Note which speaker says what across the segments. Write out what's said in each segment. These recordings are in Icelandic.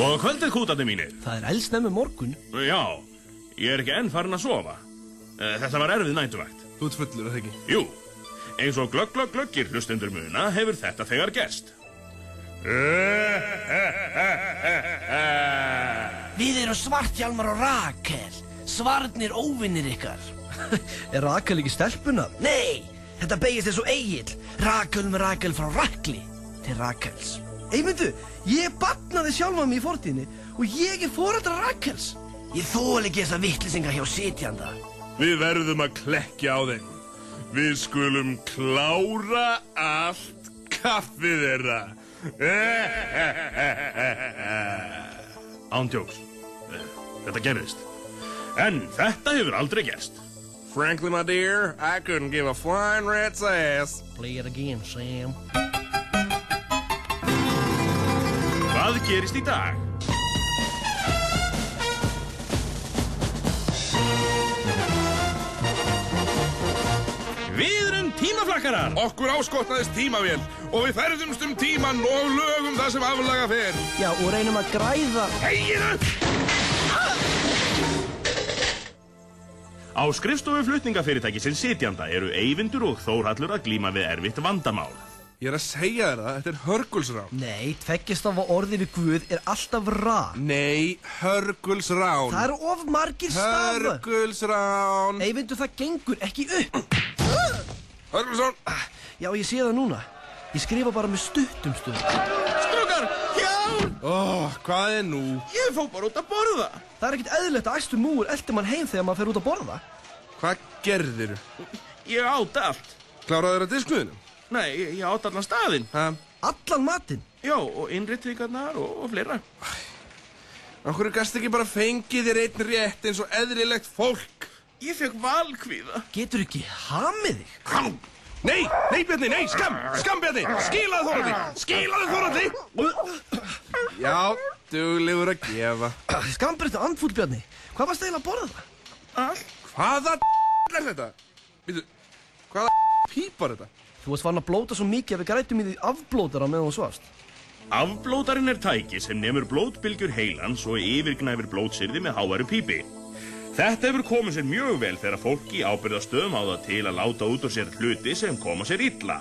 Speaker 1: Og kvöldið kútarnir mínir.
Speaker 2: Það er eldsnemmi morgun.
Speaker 1: Já, ég er ekki enn farin að sofa. Eh, Þetta var erfið nætuvægt.
Speaker 2: Þú ert fullur, er það ekki?
Speaker 1: Jú, eins og glögg, glögg, glöggir hlustendur muna hefur þetta þegar gerst. Eh,
Speaker 3: Við erum Svartjálmar og Rakel, svarnir óvinnir ykkar.
Speaker 2: Er Rakel ekki stelpunar?
Speaker 3: Nei, þetta beigist eins og Egil, Rakel með Rakel frá Rakli til Rakels.
Speaker 2: Eymundu, ég batnaði sjálfa mig í fortíðinni og ég er foreldra Rakels.
Speaker 3: Ég þól ekki þessa vittlisinga hjá sitjanda.
Speaker 4: Við verðum að klekja á þeim. Við skulum klára allt kaffið þeirra.
Speaker 1: Ándjóks, þetta gerðist. En þetta hefur aldrei gerst.
Speaker 4: Frankly, my dear, I couldn't give a flying rat's ass.
Speaker 3: Play it again, Sam.
Speaker 1: Hvað gerist í dag? Við erum tímaflakkarar!
Speaker 4: Okkur áskotnaðist tímavél og við ferðumst um tíman og lögum það sem aflaga fer.
Speaker 2: Já, og reynum að græða.
Speaker 1: Heginu! Á skrifstofu flutningafyrirtækisinn sitjanda eru Eyvindur og Þórhallur að glíma við erfitt vandamál.
Speaker 4: Ég er að segja þér það, þetta er hörgulsrán.
Speaker 2: Nei, tveggjast af að orði við Guð er alltaf rán.
Speaker 4: Nei, hörgulsrán.
Speaker 2: Það eru of margir stafur.
Speaker 4: Hörgulsrán.
Speaker 2: Eymundu, það gengur ekki upp.
Speaker 4: Hörgulsrán. Ah,
Speaker 2: Já, ég sé það núna. Ég skrifa bara með stuttum stundum.
Speaker 5: Strókar, hjálp!
Speaker 4: Ó, hvað er nú?
Speaker 5: Ég fór bara út að borða.
Speaker 2: Það er ekkert eðlilegt að æstu múur eldi mann heim þegar maður fer út að borða.
Speaker 4: Hvað gerðir?
Speaker 5: Ég átt allt.
Speaker 4: Kláraðu þeirra disknuðinu?
Speaker 5: Nei, ég- ég átt allan staðinn.
Speaker 4: Ha?
Speaker 2: Allan matinn.
Speaker 5: Já, og innréttingarnar og, og fleira.
Speaker 4: Okkur gast ekki bara fengið þér einn rétt eins og eðlilegt fólk?
Speaker 5: Ég fekk valkvíða.
Speaker 2: Getur ekki hamið þig.
Speaker 4: Hann! Nei, nei Bjarni, nei, skam, skam Bjarni, skilaðu Þoraldi, skilaðu Þoraldi! Já, duglegur að gefa.
Speaker 2: Skambriðtu andfúll, Bjarni. Hvað varst eiginlega að borða það?
Speaker 5: Allt.
Speaker 4: Hvaða er þetta? Býtu, hvaða pípar þetta?
Speaker 2: Þú varst farin að blóta svo mikið að við grætum í því afblótar á meðan þú svafst.
Speaker 1: Afblótarinn er tæki sem nemur blótbylgjur heilans og yfirgnæfir blótsyrði með háværu pípi. Þetta hefur komið sér mjög vel þegar fólki ábyrðastöðum á það til að láta út úr sér hluti sem koma sér illa.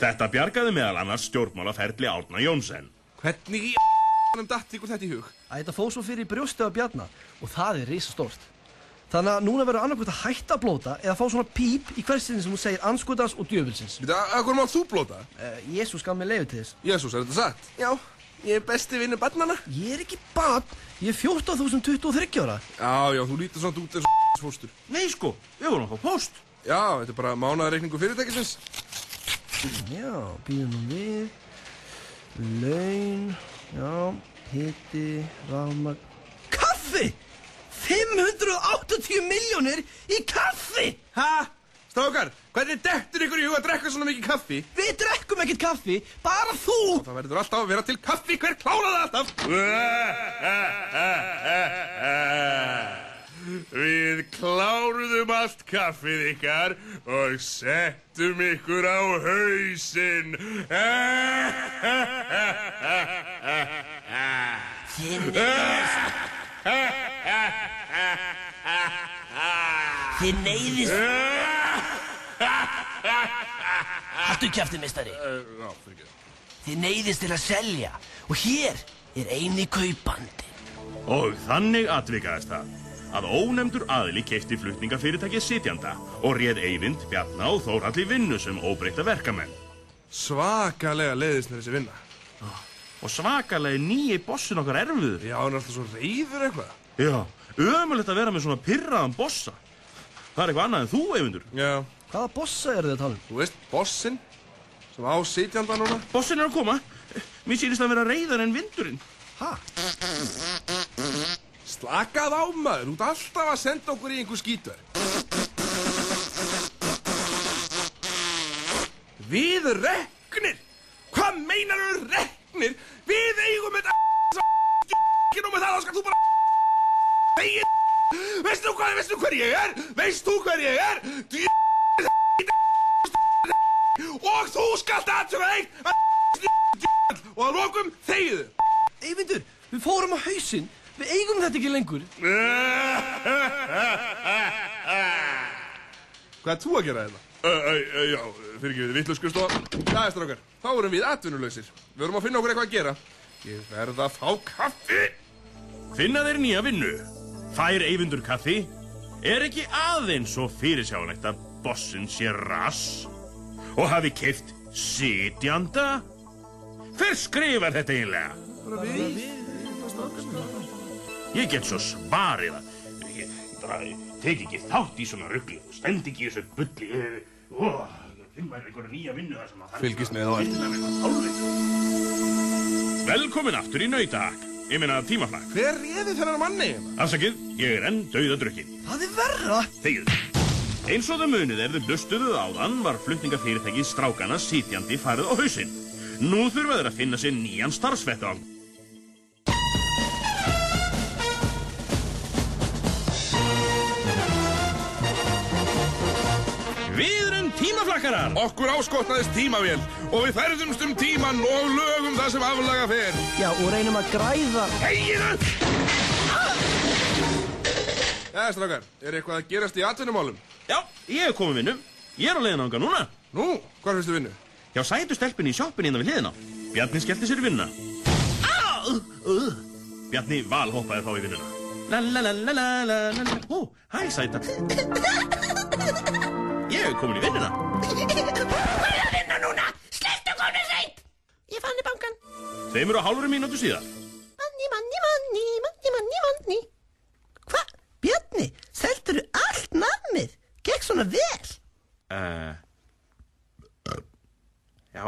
Speaker 1: Þetta bjargaði meðal annars stjórnmálaferli Árna Jónsson.
Speaker 4: Hvernig í a**num datt ykkur þetta í hug?
Speaker 2: Æ, Þetta fóð svo fyrir brjóstu af Bjarna og það er risastórt. Þannig að núna verður annarkvæmt að hætta að blóta eða fá svona píp í hversinni sem þú segir anskotans og djöfilsins.
Speaker 4: Býtu, að hvernig mátt þú blóta?
Speaker 2: Uh, Jésús gaf mér leiði til þess.
Speaker 4: Jésús, er þetta satt? Já, ég er besti vinnu barnana.
Speaker 2: Ég er ekki barn, ég er 14.023 ára.
Speaker 4: Já, já, þú lítur svona út eins og fóstur.
Speaker 1: Nei sko, við vorum að fá post.
Speaker 4: Já, þetta er bara mánaðarreikningu fyrirtækisins.
Speaker 2: Já, býðum nú við. Laun, já, hitti, rafmagn. Kaffi! 580 miljónir í kaffi!
Speaker 4: Ha? Strákar, hvernig dettur ykkur í hug að drekka svona mikið kaffi?
Speaker 2: Við drekkum ekkert kaffi, bara þú!
Speaker 4: Það verður alltaf að vera til kaffi, hver klárar það alltaf? Við kláruðum allt kaffið ykkar og settum ykkur á hausinn.
Speaker 3: Þið neyðist... Haltu kjæftið, mistari. Þið neyðist til að selja. Og hér er eini kaupandi.
Speaker 1: Og þannig atvikaðist það að ónefndur aðli keipti flutningafyrirtæki sitjanda og réð Eyvind, Bjarna og Þórhalli vinnu sem óbreyta verkamenn.
Speaker 4: Svakalega leiðist mér þessi vinna.
Speaker 1: Og svakalegi nýji bossin okkar erfiður.
Speaker 4: Já, hann er alltaf svo reyður eitthvað.
Speaker 1: Já, ömulegt að vera með svona pyrraðan bossa. Það er eitthvað annað en þú, Eyvindur.
Speaker 4: Já,
Speaker 2: Hvaða bossa eru þið að tala um?
Speaker 4: þú veist, bossinn sem á sitjanda núna.
Speaker 1: Bossin er að koma. Mér sýnist að vera reyðar en vindurinn.
Speaker 4: Slakað á maður, út alltaf að senda okkur í einhver skítver. Við reknir! Hvað meinar við reknir? Við eigum þetta a**kin og með það þá skal þú bara Þegir Veistu hvað, veistu hver ég er? Veist þú hver ég er? Djú Og þú skalt aðtöfa eitt að Og að lokum þegiðu
Speaker 2: Eyvindur, Við fórum á hausinn, við eigum þetta ekki lengur.
Speaker 4: Hvað er þú að gera þetta? Uh, uh, uh, já, fyrir ekki við vitlu skurstofa. Það er strákar, þá erum við atvinnulausir. Við verum að finna okkur eitthvað að gera. Ég verð að fá kaffi.
Speaker 1: Finna þeir nýja vinnu? Fær Eyvindur kaffi? Er ekki aðeins og fyrirsjáanlegt að bossin sé rass? Og hafi keift sitjanda? Hver skrifar þetta eiginlega? Ég get svo svarið að ég, ég bara tek ekki þátt í svona ruggli og stend ekki í þessu bulli. Ég- Ó, finn maður einhverja nýja vinnu þar sem að þarf.
Speaker 4: Fylgist með á eftir.
Speaker 1: eftir. Velkomin aftur í nautahakk. Ég meina tímaflakk.
Speaker 4: Hver réði þennan manni?
Speaker 1: Afsakið, ég er enn dauðadrukkin.
Speaker 2: Það er verra.
Speaker 1: Þegið. Eins og þau munið er þau blustuðuð áðan var flutningafyrirtæki strákana sitjandi farið á hausinn. Nú þurfa þeir að finna sér nýjan starfsvettvang. Við erum tímaflakkarar!
Speaker 4: Okkur áskotnaðist tímavél og við ferðumst um tíman og lögum það sem aflaga fer.
Speaker 3: Já, og reynum að græða
Speaker 4: Þegið upp! Jæja, strákar, er eitthvað að gerast í atvinnumálum?
Speaker 1: Já, ég er komið vinnu. Ég er á leiðin ánga núna.
Speaker 4: Nú, hvar fyrstu vinnu?
Speaker 1: Já, sætu stelpunni í sjoppinni innan við hliðina. Bjarni skellti sér í vinnuna. Á! Uh. Bjarni valhoppaði þá í vinnuna. La la la la la la la la. Ó, hæ sæta. Ég er komin í vinnuna.
Speaker 6: Hvað er að vinna núna? Slepptu konu sveit! Ég fann í bankan.
Speaker 1: Þeim eru á hálfur mínútu síðar.
Speaker 6: Manni, manni, manni, manni, manni, manni. Hva? Bjarni, seldur þú allt namið? Gekk svona vel?
Speaker 1: Uh. Já,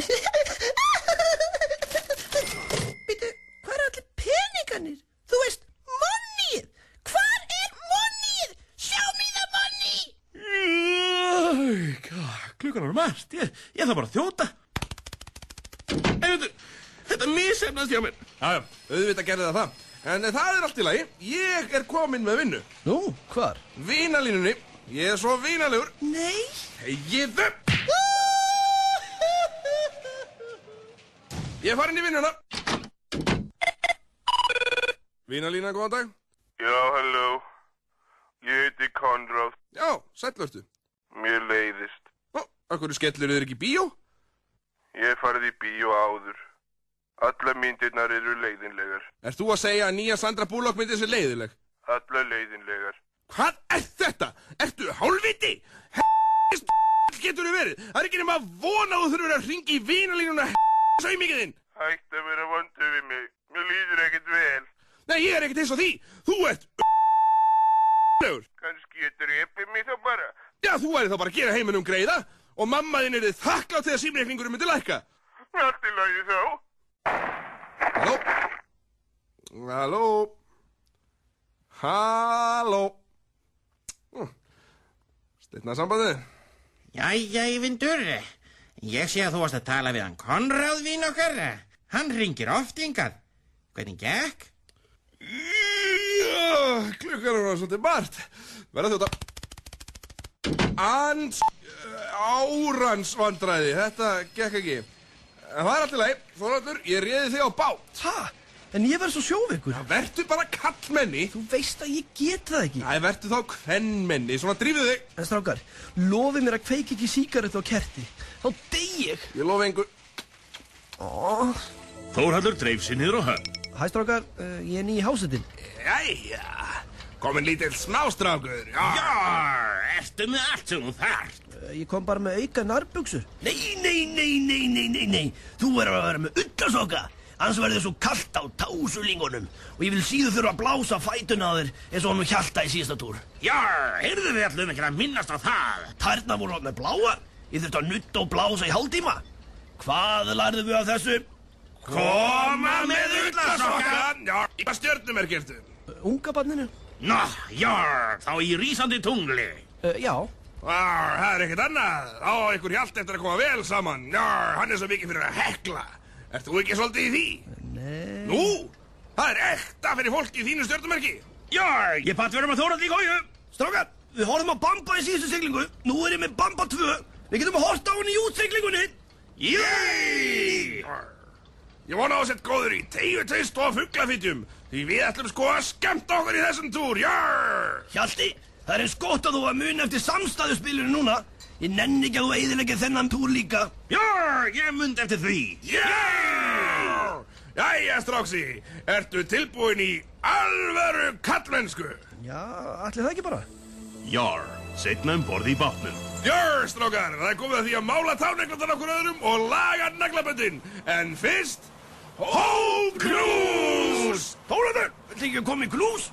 Speaker 6: Býtu, hvað er allir peningarnir? Þú veist, monnið! Hvar er monnið? Sjá mig það monni!
Speaker 1: Æ, Klukkan er margt, ég, ég þarf bara að þjóta
Speaker 5: Eyvindur, þetta misefnast hjá mér.
Speaker 4: Jæja, auðvitað gerði það það. En það er allt í lagi. Ég er kominn með vinnu.
Speaker 2: Nú, hvar?
Speaker 4: Vínalínunni. Ég er svo vínalegur.
Speaker 6: Nei,
Speaker 4: Þegið upp! Ég er farin í vinnuna. Vínalína, góðan dag.
Speaker 7: Já, halló. Ég heiti Konráð.
Speaker 4: Já, sællvörtu.
Speaker 7: Mér leiðist.
Speaker 4: Ó, akkur skellur þér ekki í bíó?
Speaker 7: Ég hef farið í bíó áður. Alla myndirnar eru leiðinlegar.
Speaker 4: Ert þú að segja að nýja Sandra Bullock myndið sér leiðileg?
Speaker 7: Alla leiðinlegar.
Speaker 4: Hvað er þetta? Ertu hálfviti? H***ist getur þú verið. Það er ekki nema að vona að þú þurfur að ringi í vínalínuna h*** saumikið þinn.
Speaker 7: Hætt að vera vondu við mig. Mér líður ekkert vel.
Speaker 4: Nei, ég er ekkert eins og því. Þú ert legur.
Speaker 7: Kannski ég drepi mig þá bara.
Speaker 4: Já, þú væri þá bara að gera heiminum greiða og mamma þín er þið þakklátt þegar símreikningurum myndi lækka.
Speaker 7: Allt í lagi þá.
Speaker 4: Halló? Halló? Halló? Steitna sambandið?
Speaker 8: Jæja, Eyvindur, ég sé að þú varst að tala við hann Konráð vín okkar. Hann ringir oft yngað. Hvernig gekk?
Speaker 4: Já, klukkan er orðin svolítið margt. Verða þjóta. Ans... Árans vandræði, þetta gekk ekki. En það er allt í lagi, Þorvaldur, ég réði þig á bát.
Speaker 2: Ha? En ég verð svo sjóveikur.
Speaker 4: Vertu bara kallmenni.
Speaker 2: Þú veist að ég get það ekki.
Speaker 4: Æ, vertu þá kvennmenni, svona drífðu þig.
Speaker 2: En strákar, lofið mér að kveiki ekki síkaretu á kerti. Þá dey ég.
Speaker 4: Ég lofa engu.
Speaker 1: Þórhallur dreif sér niður á höfn
Speaker 2: Hæ strákar, uh, ég er ný í hásetinn.
Speaker 4: Jæja, komin lítill smástrákur. Já,
Speaker 8: Ertu með
Speaker 1: um
Speaker 8: allt sem þú þarft?
Speaker 2: Uh, ég kom bara með auka nærbuksur.
Speaker 3: Nei, nei, nei, nei, nei, nei, nei Þú verður að vera með ullasoka Annars verður svo kalt á tásulingunum Og ég vil síðu þurfa að blása fætuna á þér eins og hann og hjalta í síðasta túr
Speaker 8: Jár, heyrðu við allum ekki að minnast á það.
Speaker 3: Tærnar voru hann með bláa Ég þurfti að nutta og blása í hálftíma Hvað lærðu við af þessu?
Speaker 4: koma með ullasokkan. Já, í hvað stjörnum er gertu?
Speaker 2: Uh, unga barninu?
Speaker 8: Nó, jár, þá í rísandi tungli.
Speaker 2: Uh, já.
Speaker 4: Vár, það er ekkert annað. Þá á ykkur hjalt eftir að koma vel saman. Já, hann er svo mikið fyrir að hekla. Ert þú ekki svolítið í því? Nei.
Speaker 2: Eh.
Speaker 4: Nú, það er ekta fyrir fólk í þínu stjörnumerki.
Speaker 8: Jár, ég patt verðum að þóra því góju.
Speaker 3: Strákar, við horfum á Bamba í síðustu siglingu Nú er ég með Bamba 2 Við getum að horta á hann í útsiglingunni
Speaker 8: Jæj!
Speaker 4: Ég vona á að sett góður í tegju, teist og fuglafitjum Því við ætlum sko að skemmta okkur í þessum túr, jörr!
Speaker 3: Hjalti, það er eins gott að þú að muna eftir samstæðuspilur núna Ég nenni ekki að þú eiðilegja þennan túr líka
Speaker 5: Jörg, ég mynd eftir því.
Speaker 4: Jörr! Jæja, stráksi, ertu tilbúin í alvöru kallmennsku?
Speaker 2: Já, ætli það ekki bara?
Speaker 1: Jár, setna um borði í bátnum.
Speaker 4: Jörr, strákar, það er komið að því að mála táneglundan okkur öðrum og laga naglaböndin En fyrst, hómkrús! Tólandur!
Speaker 3: Viltu ekki að koma í glús?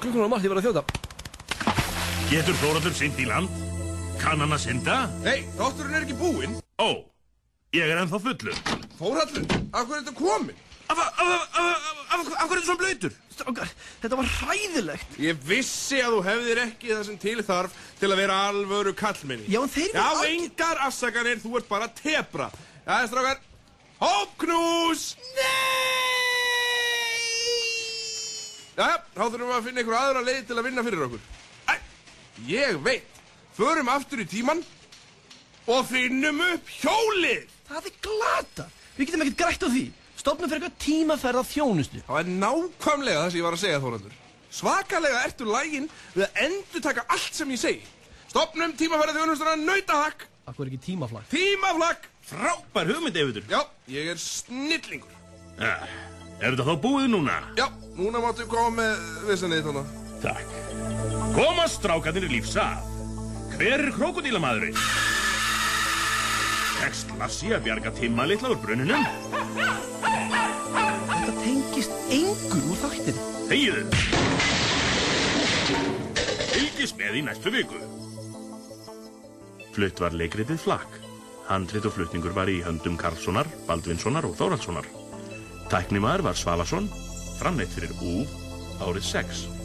Speaker 2: Klukkunar á margt, ég var að þjóta.
Speaker 1: Getur Þóratur synd í land? Kann hann að synda?
Speaker 4: Nei, þátturinn er ekki búinn
Speaker 1: Ó, ég er ennþá fullur.
Speaker 4: Þórhallur, af hverju er þetta komin?
Speaker 5: Af, af, af, af, af, af, af hverju er svona blöytur?
Speaker 2: Strákar, þetta var hræðilegt.
Speaker 4: Ég vissi að þú hefðir ekki það sem til þarf til að vera alvöru kallmenni.
Speaker 2: Já, en þeir
Speaker 4: Já,
Speaker 2: eru alg-
Speaker 4: engar afsakanir, þú ert bara tebra. Jæja, strákar, hópknús! Nei! Jæja, þá þurfum við að finna einhver aðra leið til að vinna fyrir okkur. Æ, ég veit, förum aftur í tíman og finnum upp hjólið.
Speaker 2: Það er glata. Við getum ekkert grætt á því. Stofnum fyrir eitthvað tímaferð á þjónustu.
Speaker 4: Það er nákvæmlega það sem ég var að segja, Þóraldur. Svakalega ertu lægin við að endur taka allt sem ég segi. Stopnum tímafærið þjónustuna nautahakk,
Speaker 2: Akkur er ekki tímaflag.
Speaker 4: tímaflakk.
Speaker 1: Frábær hugmynd, Eyvitur.
Speaker 4: Já, ég er snillingur.
Speaker 1: Ah, Er þetta þá búið núna?
Speaker 4: Já, núna máttu koma með vissanið þarna.
Speaker 1: Takk. Komast strákarnir í lífs að. Hver er krokodílamaðurinn? Tekst Lassi að bjarga Timma litla úr brunninum?
Speaker 2: Þetta tengist engur úr þáttin.
Speaker 1: Þegiðu. Fylgist með í næstu viku. Flutt var leikritið flakk. Handrit og flutningur var í höndum Karlssonar, Baldvinssonar og Þóraldssonar. Tæknimaður var Svavason, framleitt fyrir Ú árið 6.